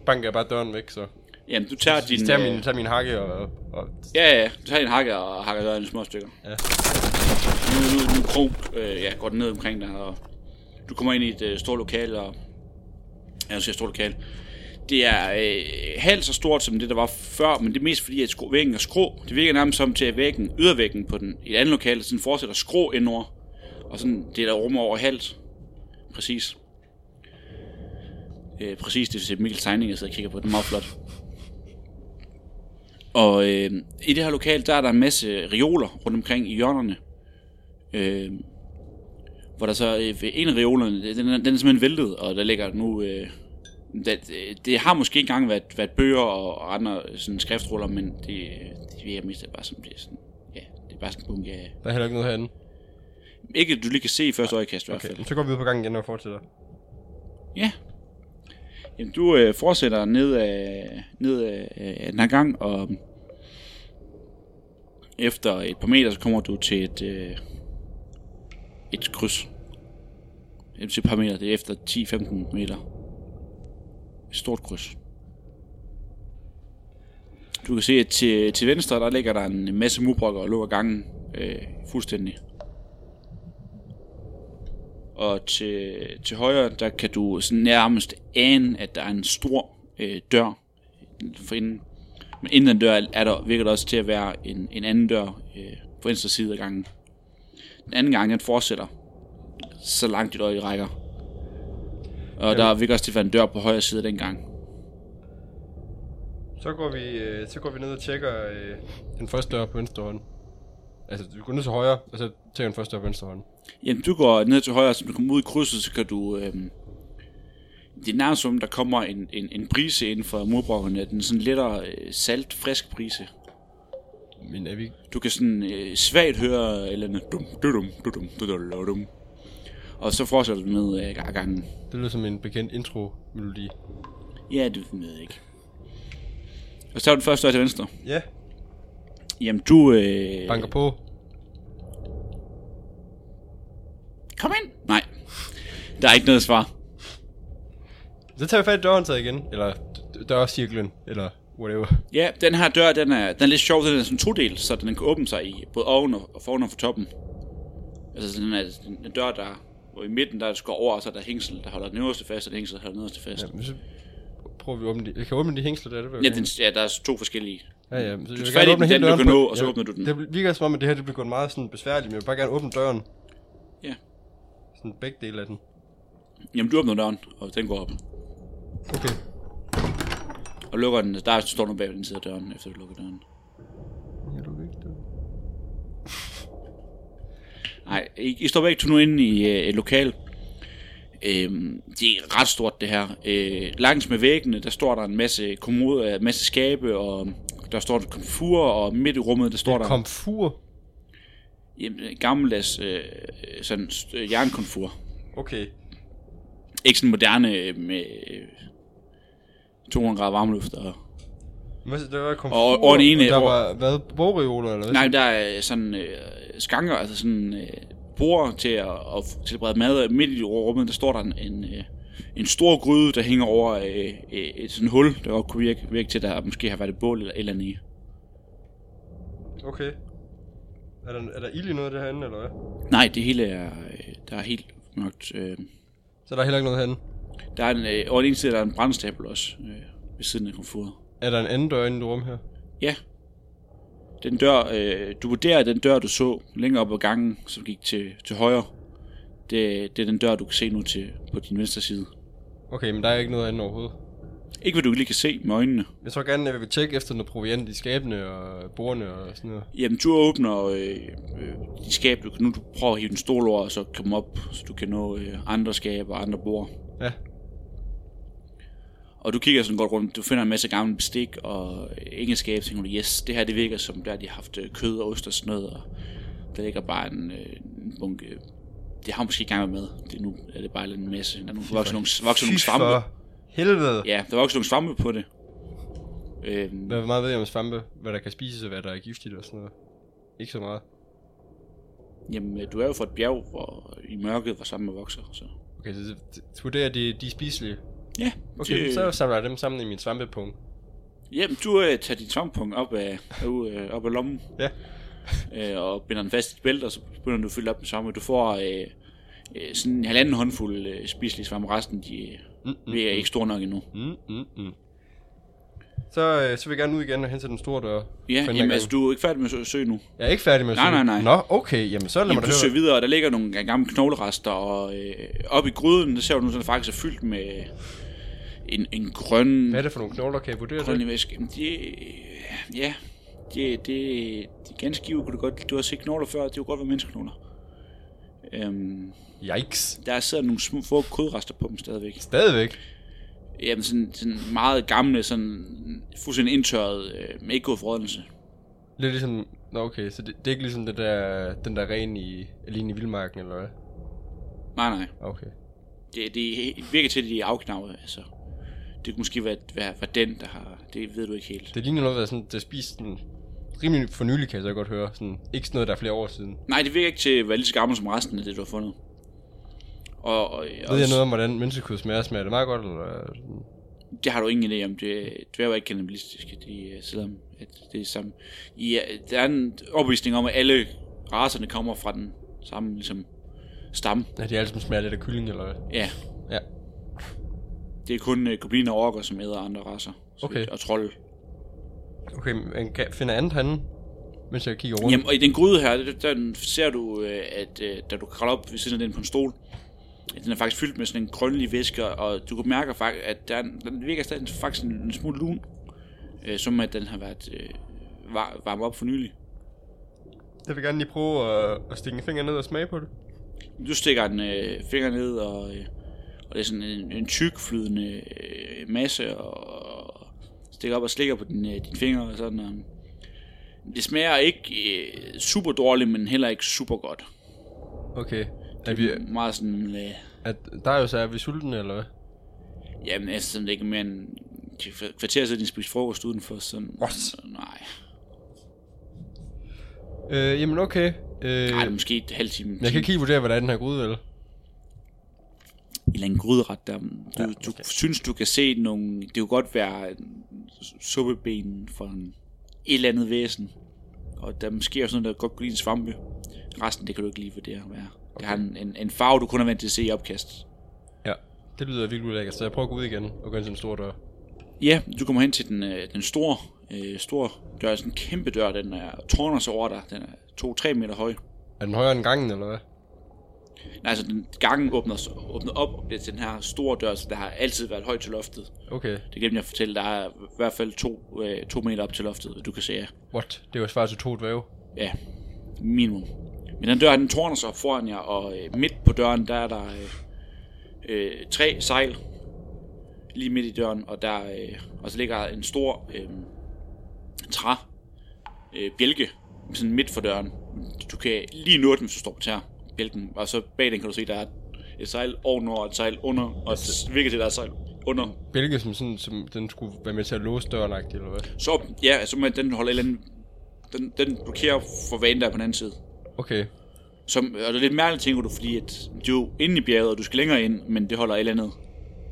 Speaker 3: banker jeg bare døren væk, så.
Speaker 2: Jamen, du tager din...
Speaker 3: Din, tager,
Speaker 2: øh,
Speaker 3: min, tager min hakke og, og
Speaker 2: Ja, ja, ja. Du tager en hakke og hakker døren i små stykker.
Speaker 3: Ja.
Speaker 2: Nu, nu, nu krog, øh, ja, går den ned omkring dig, og du kommer ind i et øh, stort lokal, og... Ja, nu siger jeg stort lokal. Det er øh, halvt så stort som det, der var før, men det er mest fordi, at skru, væggen er skrå. Det virker nærmest som til, at væggen, ydervæggen på den, i et andet lokal, sådan fortsætter skrå indover. Og sådan, det der rummer over halvt. Præcis. Øh, præcis, det er Mikkels tegning, jeg sidder og kigger på. Den er meget flot. Og øh, i det her lokal, der er der en masse reoler rundt omkring i hjørnerne. Øh, hvor der så, øh, ved en af reolerne, det- den er, den er simpelthen væltet, og der ligger nu... Øh, det, det har måske ikke engang været, været bøger og, og andre sådan skriftruller, men det, det virker mest bare som det er sådan... Ja, det er bare sådan en bunke af...
Speaker 3: der er heller ikke noget herinde.
Speaker 2: Ikke du lige kan se i første øjekast i hvert fald.
Speaker 3: Okay, så går vi ud på gangen igen og fortsætter.
Speaker 2: Ja. Jamen, du øh, fortsætter ned af, ned af, af den her gang, og efter et par meter, så kommer du til et, øh, et kryds. Jamen, til et par meter, det er efter 10-15 meter. Et stort kryds. Du kan se, at til, til venstre, der ligger der en masse murbrokker og lukker gangen øh, fuldstændig. Og til, til højre, der kan du sådan nærmest ane, at der er en stor øh, dør for inden. Men inden den dør er der, virker der også til at være en, en anden dør øh, på venstre side af gangen. Den anden gang, den fortsætter så langt dit øje rækker. Og der virker også til at være en dør på højre side af den gang.
Speaker 3: Så går vi, øh, så går vi ned og tjekker øh, den første dør på venstre hånd. Altså, du går ned til højre, og så tjekker den første dør på venstre hånd.
Speaker 2: Jamen, du går ned til højre, så du kommer ud i krydset, så kan du... Øhm, det er nærmest som, der kommer en, en, en brise ind fra murbrokkerne. Den er sådan lettere øh, salt, frisk brise.
Speaker 3: Men er vi ikke-
Speaker 2: Du kan sådan øh, svagt høre et eller andet dum, dudum, dudum, dudum, dum. Og så fortsætter du ned ad øh, gangen.
Speaker 3: Det lyder som en bekendt intro-melodi.
Speaker 2: Ja, det ved jeg ikke. Og så tager du den første dør til venstre.
Speaker 3: Ja,
Speaker 2: Jamen, du... Øh,
Speaker 3: banker på.
Speaker 2: Kom ind! Nej. Der er ikke noget svar.
Speaker 3: Så tager vi fat i dørhåndtaget igen, eller d- dørcirklen, eller whatever.
Speaker 2: Ja, den her dør, den er, den er lidt sjov, den er sådan todel, så den kan åbne sig i både oven og, og foran og fra toppen. Altså sådan er sådan en dør, der hvor i midten, der går over, og så er der hængsel, der holder den øverste fast, og den hængsel, der holder den nederste fast.
Speaker 3: Ja, men så prøver vi at åbne de... Jeg kan åbne de hængsler, der er det vel?
Speaker 2: Ja, den, ja, der er to forskellige.
Speaker 3: Ja, ja. men Så
Speaker 2: Du
Speaker 3: vil
Speaker 2: tager fat i
Speaker 3: gerne
Speaker 2: den,
Speaker 3: hele
Speaker 2: den du
Speaker 3: døren
Speaker 2: kan
Speaker 3: på-
Speaker 2: nå, og så
Speaker 3: ja,
Speaker 2: åbner du den.
Speaker 3: Det virker som om, at det her det bliver gået meget sådan besværligt, men jeg vil bare gerne åbne døren.
Speaker 2: Ja.
Speaker 3: Sådan begge dele af den.
Speaker 2: Jamen, du åbner døren, og den går op.
Speaker 3: Okay.
Speaker 2: Og lukker den. Der står nogen bag på den side af døren, efter du lukker døren.
Speaker 3: Jeg lukker ikke døren.
Speaker 2: Nej, I, I står begge to nu inde i øh, et lokal. Øhm, det er ret stort, det her. Øh, langs med væggene, der står der en masse kommoder, en masse skabe, og der står en komfur, og midt i rummet, der står der
Speaker 3: Komfur.
Speaker 2: jamen, en gammeldags øh, øh, sådan, øh, jernkomfur.
Speaker 3: Okay.
Speaker 2: Ikke sådan moderne øh, med øh, 200 grader varmluft. Og...
Speaker 3: Hvad så, der var komfur,
Speaker 2: Og- og en ene-
Speaker 3: der
Speaker 2: og-
Speaker 3: var, hvad, bogreoler eller hvad?
Speaker 2: Nej, der er sådan øh, skanker, altså sådan øh, borer til at, at tilberede mad. og Midt i rummet, der står der en, en, øh, en stor gryde, der hænger over øh, øh, et sådan hul, der godt kunne virke, virke til, der måske har været et bål eller et eller andet i.
Speaker 3: Okay. Er der, er der ild i noget af det herinde, eller hvad?
Speaker 2: Nej, det hele er, øh, der er helt mørkt. Øh.
Speaker 3: Så er der heller ikke noget herinde.
Speaker 2: Der er en, øh, over den ene side, der er en brændstabel også, øh, ved siden af komfuret.
Speaker 3: Er der en anden dør inde i det rum her?
Speaker 2: Ja. Den dør, øh, du vurderer den dør, du så længere op ad gangen, som gik til, til højre. Det, det er den dør, du kan se nu til på din venstre side.
Speaker 3: Okay, men der er ikke noget andet overhovedet.
Speaker 2: Ikke hvad du lige kan se med øjnene.
Speaker 3: Jeg tror gerne, at vi vil tjekke efter noget proviant i skabene og bordene og sådan noget.
Speaker 2: Jamen, du åbner øh, øh, dit skab. Du kan nu du prøver at hive den stol over, og så komme op, så du kan nå øh, andre skabe og andre bord.
Speaker 3: Ja.
Speaker 2: Og du kigger sådan godt rundt. Du finder en masse gamle bestik og øh, ingen skab. Så tænker du, yes, det her det virker som, der de har haft øh, kød og ost og sådan noget. Og der ligger bare en, øh, en bunke... øh, Det har måske ikke engang været med. Det, nu er det bare en masse. Der er nogle, vokser nogle, vokser nogle
Speaker 3: Fy
Speaker 2: svampe.
Speaker 3: for helvede. Ja.
Speaker 2: Ja, der vokser nogle svampe på det. Øhm,
Speaker 3: Hvad meget ved jeg om svampe? Hvad der kan spises og hvad der er giftigt og sådan noget? Ikke så meget.
Speaker 2: jamen, øh, du er jo fra et bjerg, hvor i mørket, hvor svampe vokser. Så.
Speaker 3: Okay, så det- det- vurderer de, de er spiselige.
Speaker 2: Ja,
Speaker 3: Okay, så samler jeg dem sammen i min svampepunkt.
Speaker 2: Jamen, du øh, tager din svampepunkt op af, ud, øh, op af lommen.
Speaker 3: Ja.
Speaker 2: Øh, og binder den fast i dit bælte, og så begynder du at fylde op med svampe. Du får øh, øh, sådan en halvanden håndfuld øh, spiselige svampe. Resten, de øh,
Speaker 3: Mm,
Speaker 2: er ikke store nok endnu.
Speaker 3: Mm, mm, mm. Så, øh, så vil jeg gerne ud igen og hen til den store dør.
Speaker 2: Ja,
Speaker 3: For en
Speaker 2: jamen,
Speaker 3: gang.
Speaker 2: altså, du er ikke færdig med at sø- søge nu.
Speaker 3: Jeg er ikke færdig med at
Speaker 2: Nej,
Speaker 3: søge.
Speaker 2: nej, nej.
Speaker 3: Nå, okay, jamen så lad
Speaker 2: Jamen,
Speaker 3: mig da
Speaker 2: du søger
Speaker 3: høre.
Speaker 2: videre, og der ligger nogle gamle knoglerester, og øh, op i gryden, der ser du nu, sådan faktisk er fyldt med en, en grøn...
Speaker 3: Hvad er det for nogle knogler, kan jeg vurdere det?
Speaker 2: Grønne væske, jamen det, ja, det, det, det er ganske givet, kunne du godt, du har set knogler før, det kunne godt være menneskeknogler. Øhm,
Speaker 3: Yikes.
Speaker 2: der sidder nogle små få kodrester på dem stadigvæk.
Speaker 3: Stadigvæk.
Speaker 2: Jamen sådan, sådan meget gamle, sådan fuldstændig indtørret, øh, med ikke god forrådelse.
Speaker 3: Lidt ligesom... Nå, okay, så det, det er ikke ligesom det der, den der ren i Aline i Vildmarken, eller hvad?
Speaker 2: Nej, nej,
Speaker 3: Okay.
Speaker 2: det, det virker til, at de er afknappet, altså. Det kunne måske være, være, være den, der har, det ved du ikke helt.
Speaker 3: Det ligner noget, der er sådan, der spist sådan, rimelig for nylig, kan jeg så godt høre. Sådan, ikke sådan noget, der er flere år siden.
Speaker 2: Nej, det virker ikke til at være lige så gammel som resten af det, du har fundet. Og, og,
Speaker 3: Jeg Ved jeg noget om, hvordan menneskekød smager? Smager det meget godt, eller... sådan?
Speaker 2: Det har du ingen idé om. Det, dværge er ikke kanibalistiske, de, øh, selvom at det er samme. I, øh, der er en opvisning om, at alle racerne kommer fra den samme ligesom, stamme.
Speaker 3: Er de alle sammen smager lidt af kylling, eller hvad?
Speaker 2: Ja,
Speaker 3: Ja.
Speaker 2: det er kun uh, gobliner og orker, som æder andre racer. Så
Speaker 3: Okay.
Speaker 2: vidt- Og trolde.
Speaker 3: Okay, men kan jeg finde andet henne, mens jeg kigger rundt?
Speaker 2: Jamen, og i den gryde her, der, der ser du, øh, at øh, da du kravler op ved siden af den på en stol, at den er faktisk fyldt med sådan en grønlig væske, og du kan mærke, faktisk, at der, er en- den virker stadig faktisk en, en smule lun, øh, som at den har været øh, var, varmet op for nylig.
Speaker 3: Jeg vil gerne lige prøve at, at stikke en finger ned og smage på det.
Speaker 2: Du stikker den øh, finger ned, og, øh, og det er sådan en, en tyk flydende øh, masse, og, og stikker op og slikker på din, øh, din finger og sådan. Og det smager ikke øh, super dårligt, men heller ikke super godt.
Speaker 3: Okay. Er, vi,
Speaker 2: Meget sådan, øh,
Speaker 3: at der er jo så, er vi sultne, eller hvad?
Speaker 2: jamen altså sådan, det er ikke mere end et kva- kvarter siden, jeg spiste frokost udenfor. Sådan,
Speaker 3: What?
Speaker 2: nej,
Speaker 3: Øh, jamen okay. Øh,
Speaker 2: nej, det er måske et halvt time.
Speaker 3: men jeg kan ikke helt vurdere, hvordan den her gryde, eller?
Speaker 2: en eller anden gryderet der. Du, ja,
Speaker 3: Ja,
Speaker 2: okay. du
Speaker 3: okay.
Speaker 2: synes, du kan se nogle... Det kunne godt være en su- suppeben for en, et eller andet væsen. Og der er måske også noget, der godt kunne lide en svampe. Resten, det kan du ikke lige vurdere, hvad er. Okay. Det har en, en, en farve, du kun er vant til at se i opkast.
Speaker 3: Ja. Det lyder virkelig ulækkert, så jeg prøver at gå ud igen og gå ind til den store dør.
Speaker 2: Ja, du kommer hen til den, øh, den store, øh, store dør. Sådan en kæmpe dør, den er, tårner sig over dig. Den er 2-3 meter høj.
Speaker 3: Er den højere end gangen, eller hvad?
Speaker 2: Nej, altså den gangen åbner, s- åbner op og bliver til den her store dør, så der har altid været højt til loftet.
Speaker 3: Okay.
Speaker 2: Det glemte jeg at fortælle, der er i hvert fald to, øh, to meter op til loftet, du kan se. ja.
Speaker 3: What? Det var svaret til to dvæve.
Speaker 2: Ja, minimum. Men den dør, den tårner sig foran jer, og øh, midt på døren, der er der øh, øh, tre sejl lige midt i døren, og der øh, og så ligger en stor øh, træ øh, bjælke sådan midt for døren. Du kan lige nå den, hvis du står på tær, bjælken, og så bag den kan du se, der er et sejl ovenover, et sejl under, og det virker til, at der er et sejl under.
Speaker 3: Bælge som sådan, som den skulle være med til at låse døren, eller hvad?
Speaker 2: Så, ja, altså, men den holder et eller andet, den, den blokerer for vanen, der er på den anden side.
Speaker 3: Okay.
Speaker 2: Som, og det er lidt mærkeligt, tænker du, fordi at du er jo inde i bjerget, og du skal længere ind, men det holder et eller andet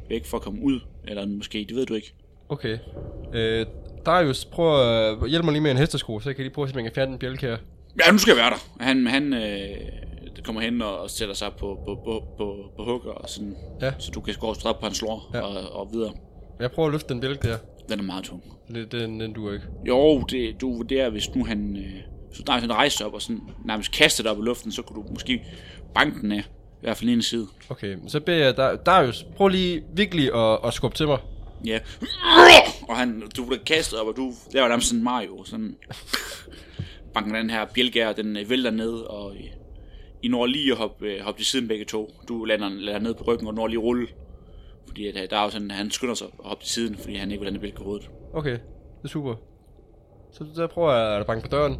Speaker 2: væk for at komme ud. Eller måske, det ved du ikke.
Speaker 3: Okay. Øh, Darius, prøv at øh, hjælpe mig lige med en hestesko, så jeg kan lige prøve at se, om jeg kan fjerne den bjælke her.
Speaker 2: Ja, nu skal jeg være der. Han, han øh, kommer hen og, og sætter sig på, på, på, på, på hugger, og sådan,
Speaker 3: Ja.
Speaker 2: så du kan gå og stå op på hans lår
Speaker 3: Ja.
Speaker 2: ja. og, og videre.
Speaker 3: Jeg prøver at løfte den bjælke der.
Speaker 2: Den er meget tung.
Speaker 3: Den, den, den duer ikke.
Speaker 2: Jo, det, du vurderer, hvis nu han, øh, hvis du nærmest han rejste sig op og sådan, nærmest kastede dig op i luften, så kunne du måske banke den af. I hvert fald en side.
Speaker 3: Okay, men så beder jeg Dar- Darius, prøv lige virkelig at, at skubbe til mig.
Speaker 2: Ja. Og han, du bliver kastet op, og du laver nærmest sådan en Mario. Sådan banker den her bjælke og den øh, vælter ned, og øh, I når lige at hoppe, øh, hoppe til siden begge to. Du lander, lander ned på ryggen og når lige at rulle. Fordi at, øh, der er jo sådan, han skynder sig at hoppe til siden, fordi han ikke vil lande bjælke på hovedet.
Speaker 3: Okay, det er super. Så der prøver jeg at banke på døren.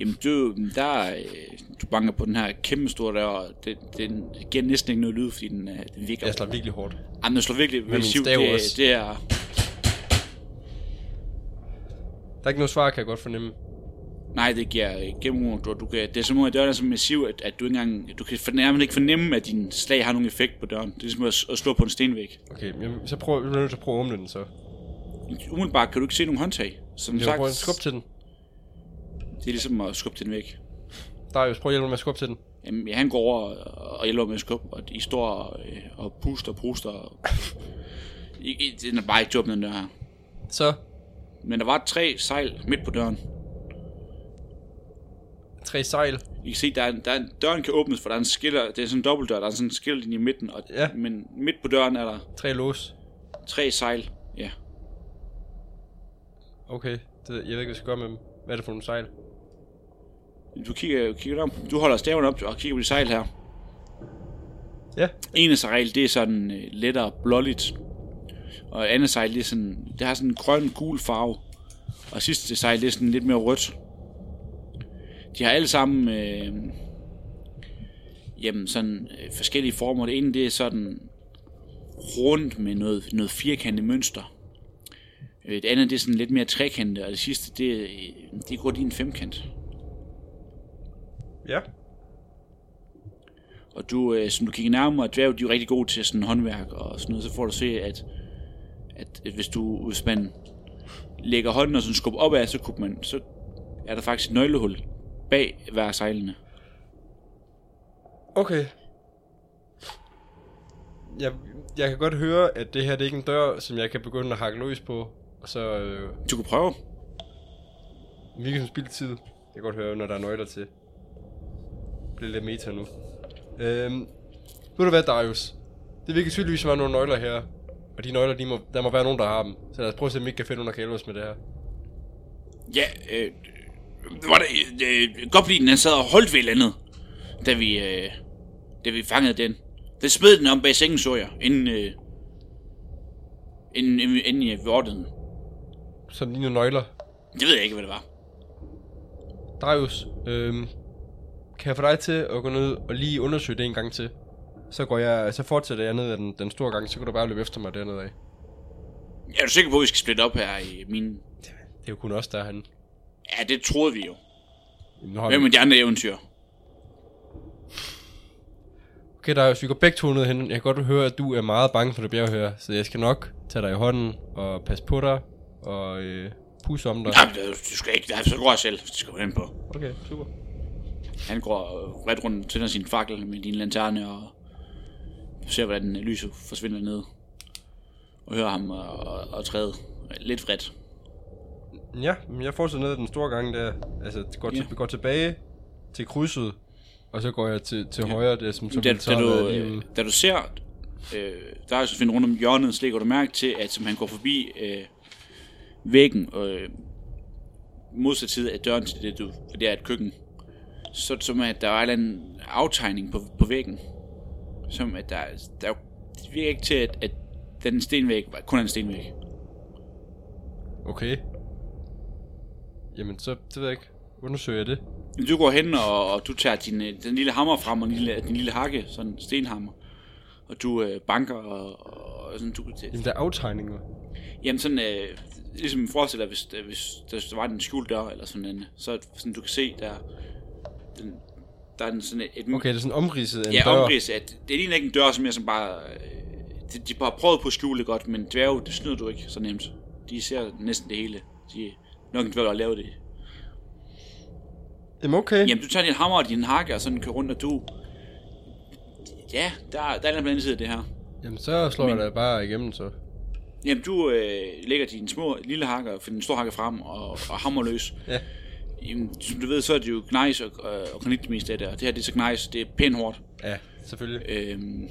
Speaker 2: Jamen du, der, øh, du banker på den her kæmpe store der, og det, den giver næsten ikke noget lyd, fordi den, øh, den virker.
Speaker 3: Jeg slår virkelig hårdt.
Speaker 2: Jamen, den slår virkelig
Speaker 3: min
Speaker 2: massivt.
Speaker 3: stav
Speaker 2: Det,
Speaker 3: også.
Speaker 2: er- det er,
Speaker 3: Der er ikke noget svar, kan jeg godt fornemme.
Speaker 2: Nej, det giver gennemrum. Du, du kan, det er som om, at døren er så massiv, at, at du ikke engang, du kan fornærmest ikke fornemme, at din slag har nogen effekt på døren. Det er ligesom at, s- at slå på en stenvæg.
Speaker 3: Okay, jamen, så prøver jeg bliver nødt til at prøve at åbne den så.
Speaker 2: Umiddelbart kan du ikke se nogen håndtag. Som
Speaker 3: Jeg
Speaker 2: sagt,
Speaker 3: prøver at skubbe til den.
Speaker 2: det er ligesom at skubbe den væk.
Speaker 3: Darius, prøv at hjælpe mig med at skubbe til den.
Speaker 2: Jamen, ja, han går over og, og hjælper med at skubbe, og I står og, øh, og puster og puster. Og... I, I, den er bare ikke åbnet, den dør her.
Speaker 3: Så,
Speaker 2: Men der var tre sejl midt på døren.
Speaker 3: tre sejl.
Speaker 2: I kan se, der er, en, der er en, døren kan åbnes, for der er en skiller, det er sådan en dobbeltdør, der er sådan en skillerlinje i midten, og,
Speaker 3: Ja.
Speaker 2: men midt på døren er der
Speaker 3: Tre lås.
Speaker 2: tre sejl. Ja,
Speaker 3: Okay, det, jeg ved ikke, hvad jeg skal gøre med dem. Hvad er det for nogle sejl?
Speaker 2: Du kigger, kigger om. Du holder staven op og kigger på de sejl her.
Speaker 3: Ja,
Speaker 2: En af sejl, det er sådan øh, lettere blåligt. Og et andet sejl, det, er sådan, det har sådan en grøn-gul farve. Og sidste sejl, det er sådan lidt mere rødt. De har alle sammen øh, jamen sådan, øh, forskellige former. Det ene, det er sådan rundt med noget, noget firkantet mønster. Øh, Det andet, det er sådan lidt mere trekantet. Og det sidste, det, øh, det går lige en femkant.
Speaker 3: ja.
Speaker 2: Og du, øh, som du kigger nærmere, dværg, de er jo rigtig gode til sådan håndværk og sådan noget, så får du se, at, at, at hvis, du, hvis man lægger hånden og sådan skubber opad, så, kunne man, så er der faktisk et nøglehul bag hver sejlene.
Speaker 3: Okay. Jeg, jeg kan godt høre, at det her det er ikke en dør, som jeg kan begynde at hakke løs på. Og så øh,
Speaker 2: Du kan prøve.
Speaker 3: virkelig som spildt tid. Jeg kan godt høre, når der er nøgler til. Det bliver lidt meta nu. Øhm, ved du hvad, Darius? Det virker tydeligvis, som om der er nogle nøgler her. Og de nøgler, de må, der må være nogen, der har dem. Så lad os prøve at se, om vi ikke kan finde nogen, der kan hjælpe os med det her.
Speaker 2: Ja, øh, var det, øh, goblinen han sad og holdt ved et eller andet, da vi, øh, da vi fangede den. Den smed den om bag sengen, så jeg, inden, øh, inden, inden, inden jeg vordede den.
Speaker 3: Som lige nogle nøgler.
Speaker 2: Det ved jeg ikke, hvad det var.
Speaker 3: Darius, øhm, kan jeg få dig til at gå ned og lige undersøge det en gang til? Så, går jeg, så fortsætter jeg ned ad den, den store gang, så kan du bare løbe efter mig dernede af.
Speaker 2: Er du sikker på, at vi skal splitte op her i min...
Speaker 3: Det er jo kun os, der er han.
Speaker 2: Ja, det troede vi jo.
Speaker 3: Nu har
Speaker 2: Hvem
Speaker 3: vi...
Speaker 2: er de andre eventyr?
Speaker 3: Okay, Darius, vi går begge to ned hen. Jeg kan godt høre, at du er meget bange for det bjerg her, så jeg skal nok tage dig i hånden og passe på dig og øh, pusse om dig.
Speaker 2: Nej, men du skal ikke. Så går jeg selv, hvis du skal gå hen på.
Speaker 3: Okay, super.
Speaker 2: Han går øh, ret rundt og tænder sin fakkel med din lanterne og ser, hvordan lyset forsvinder ned. Og hører ham og, og, og træde lidt vredt.
Speaker 3: Ja, men jeg fortsætter ned ad den store gang der. Altså, går, til,
Speaker 2: Ja.
Speaker 3: går tilbage til krydset, og så går jeg til, til højre, det er som, som
Speaker 2: da,
Speaker 3: så
Speaker 2: da,
Speaker 3: har
Speaker 2: du,
Speaker 3: været lige
Speaker 2: øh,
Speaker 3: ude.
Speaker 2: da du ser, øh, der er jo selvfølgelig rundt om hjørnet, så lægger du mærke til, at som han går forbi øh, væggen, øh, modsat side af døren til det, du, for det er et køkken, så er det som at der er en eller anden aftegning på, på væggen. Som at der, der det virker ikke til, at, at den stenvæg var- kun er en stenvæg.
Speaker 3: Okay. Jamen, så det ved jeg ikke. Undersøger jeg det?
Speaker 2: Du går hen, og, og du tager din, øh, den lille hammer frem, og din lille, din lille hakke, sådan en stenhammer. Og du øh, banker, og, og, og sådan, du,
Speaker 3: Jamen, der er aftegninger.
Speaker 2: Jamen sådan, øh, ligesom forestil dig, hvis, øh, hvis der var en skjult dør eller sådan en, så er det sådan, du kan se, der, den, der er den sådan et, et
Speaker 3: Okay, det er sådan omridset af en
Speaker 2: ja,
Speaker 3: dør.
Speaker 2: omrids, at det ligner ikke en dør, som jeg som bare, øh, de, de bare prøvet på at skjule det godt, men dværge, det snyder du ikke så nemt. De ser næsten det hele. De er nok en dværg, der har lavet det.
Speaker 3: Jamen, okay.
Speaker 2: Jamen, du tager din hammer og din hakke og sådan kører rundt, og du... Ja, der, der er en eller anden på den anden side af det her.
Speaker 3: Jamen, så slår jeg da bare igennem, så.
Speaker 2: Jamen, du øh, lægger dine små lille hakker, finder den store hakke frem og, og hammer løs.
Speaker 3: Ja.
Speaker 2: Jamen, som du ved, så er det jo gnejs og, øh, og granit det meste af det, og det her det er så gnejs, det er pænt hårdt.
Speaker 3: Ja, selvfølgelig.
Speaker 2: Øhm,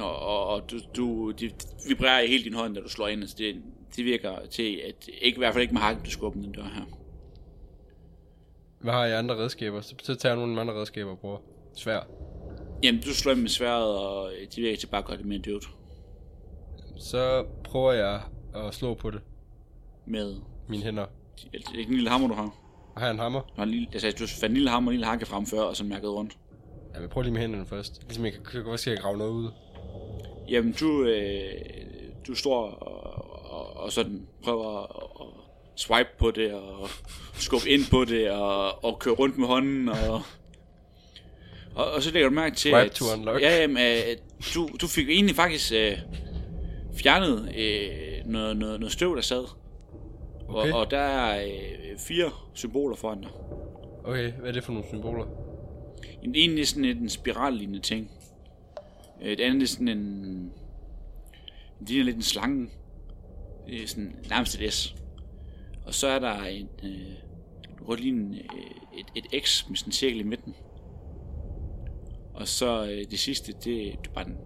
Speaker 2: og, og, og du, du det vibrerer i hele din hånd, når du slår ind, altså det, det virker til, at ikke, i hvert fald ikke med hakken, du skubber den dør her.
Speaker 3: Hvad har jeg andre redskaber? Så, så tager jeg nogle af mine andre redskaber og bruger. Svær.
Speaker 2: Jamen, du slår ind med sværet, og det virker til bare at gøre det mere dødt
Speaker 3: Så prøver jeg at slå på det.
Speaker 2: med altså,
Speaker 3: Mine hænder.
Speaker 2: det er ikke en lille hammer, du har.
Speaker 3: Har jeg en hammer?
Speaker 2: Du, har en lille, altså, du fandt en lille hammer og en lille hakke frem før, og så mærket rundt.
Speaker 3: Ja, men prøv lige med hænderne først. Ligesom jeg kan, hvor skal jeg grave noget ud?
Speaker 2: Jamen, du, øh, du står og, og, og sådan prøver at, at swipe på det, og skubbe ind på det, og, og køre rundt med hånden, og... Og, og så lægger du mærke til,
Speaker 3: Swipe to unlock.
Speaker 2: ja, jamen, øh, du, du fik egentlig faktisk øh, fjernet øh, noget, noget, noget støv, der sad.
Speaker 3: Okay.
Speaker 2: Og, og der er øh, fire symboler foran dig.
Speaker 3: Okay, hvad er det for nogle symboler?
Speaker 2: En, en er sådan lidt en spirallignende ting. Øh, Et andet er sådan en... Det ligner lidt en slange. Det er sådan nærmest et S. Og så er der en... Øh, du kan lige en, øh, et, et X med sådan en cirkel i midten. Og så øh, det sidste, det, det er bare den...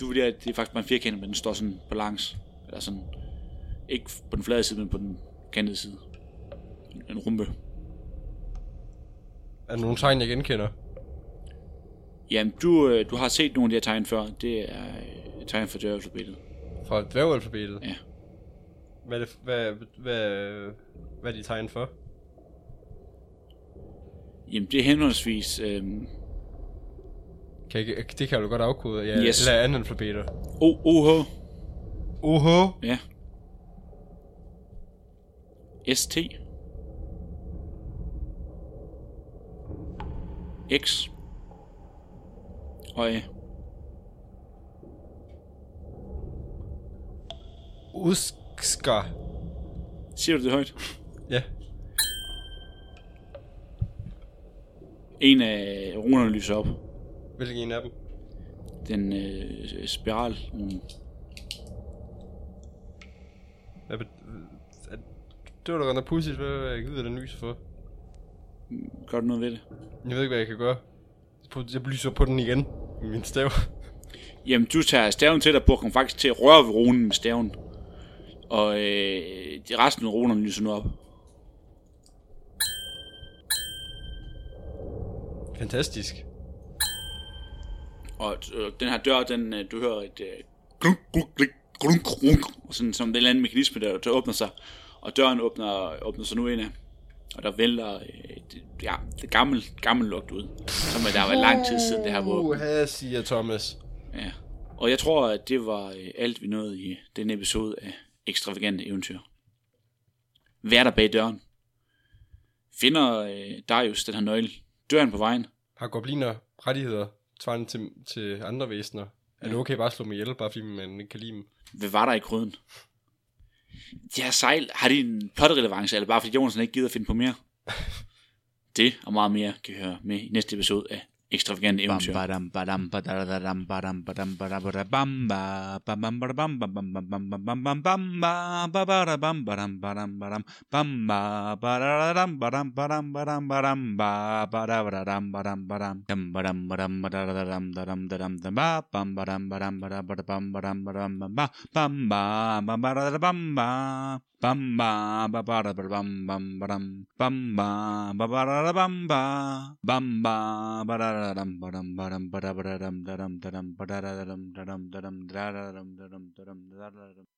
Speaker 2: Du vurderer, at det er faktisk bare en firkant, men den står sådan på langs. Eller sådan... Ikke på den flade side, men på den kantede side. En, en rumpe.
Speaker 3: Er der nogle tegn, jeg genkender?
Speaker 2: Jamen, du, øh, du har set nogle af de her tegn før. Det er øh, tegn for døralfabetet.
Speaker 3: Fra dværgalfabetet?
Speaker 2: Ja.
Speaker 3: Hvad er, det, hvad, hvad, hvad er de tegn for?
Speaker 2: Jamen, det er henholdsvis øh,
Speaker 3: Kan jeg, ikke- det kan jeg jo godt afkode. Jeg
Speaker 2: Yes.
Speaker 3: eller er analfabeter.
Speaker 2: O, OH,
Speaker 3: Oho!
Speaker 2: ja. ST. X. Og øh, A.
Speaker 3: Uskar.
Speaker 2: Siger du det højt?
Speaker 3: Ja.
Speaker 2: En af runerne lyser op.
Speaker 3: Hvilken en af dem?
Speaker 2: Den øh, spiral. Mm.
Speaker 3: Hvad bet... er, det var da godt nok pudsigt. Hvad hvad jeg gider den lyser for?
Speaker 2: Gør du noget ved det?
Speaker 3: Jeg ved ikke, hvad jeg kan gøre. Jeg lyser på den igen. Med min stav.
Speaker 2: Jamen, du tager staven til dig, bruger den faktisk til at røre ved runen med staven. Og øh, de resten af runerne lyser nu op.
Speaker 3: Fantastisk.
Speaker 2: Og øh, den her dør, den, øh, du hører et øh, klunk, klunk, klunk, klunk, klunk, og sådan som en eller anden mekanisme, der, der åbner sig. Og døren åbner, åbner sig nu ind og der vælter øh, et, ja, det gammel, gammel lugt ud, som at der var lang tid siden det her var åbent.
Speaker 3: Uha, siger Thomas.
Speaker 2: Ja. Og jeg tror, at det var øh, alt, vi nåede i denne episode af Ekstravagante Eventyr. Hvad der bag døren? Finder øh, Darius den her nøgle? Dør han på vejen?
Speaker 3: Har gobliner rettigheder svarende til, til andre væsener? Er det okay bare at slå dem ihjel, bare fordi man ikke kan lide dem?
Speaker 2: Hvad var der i gryden? De her sejl, har de en plotrelevance, eller bare fordi Jonsen ikke gider at finde på mere? Det og meget mere kan I høre med i næste episode af ekstravagant eventyr.
Speaker 4: Bamba, babara, bam, bam, bam, bamba, babara, bamba, bamba, barararam, baram, baram, barabararam, daram, daram, barararam, daram, daram, dararam, daram, daram, dararam.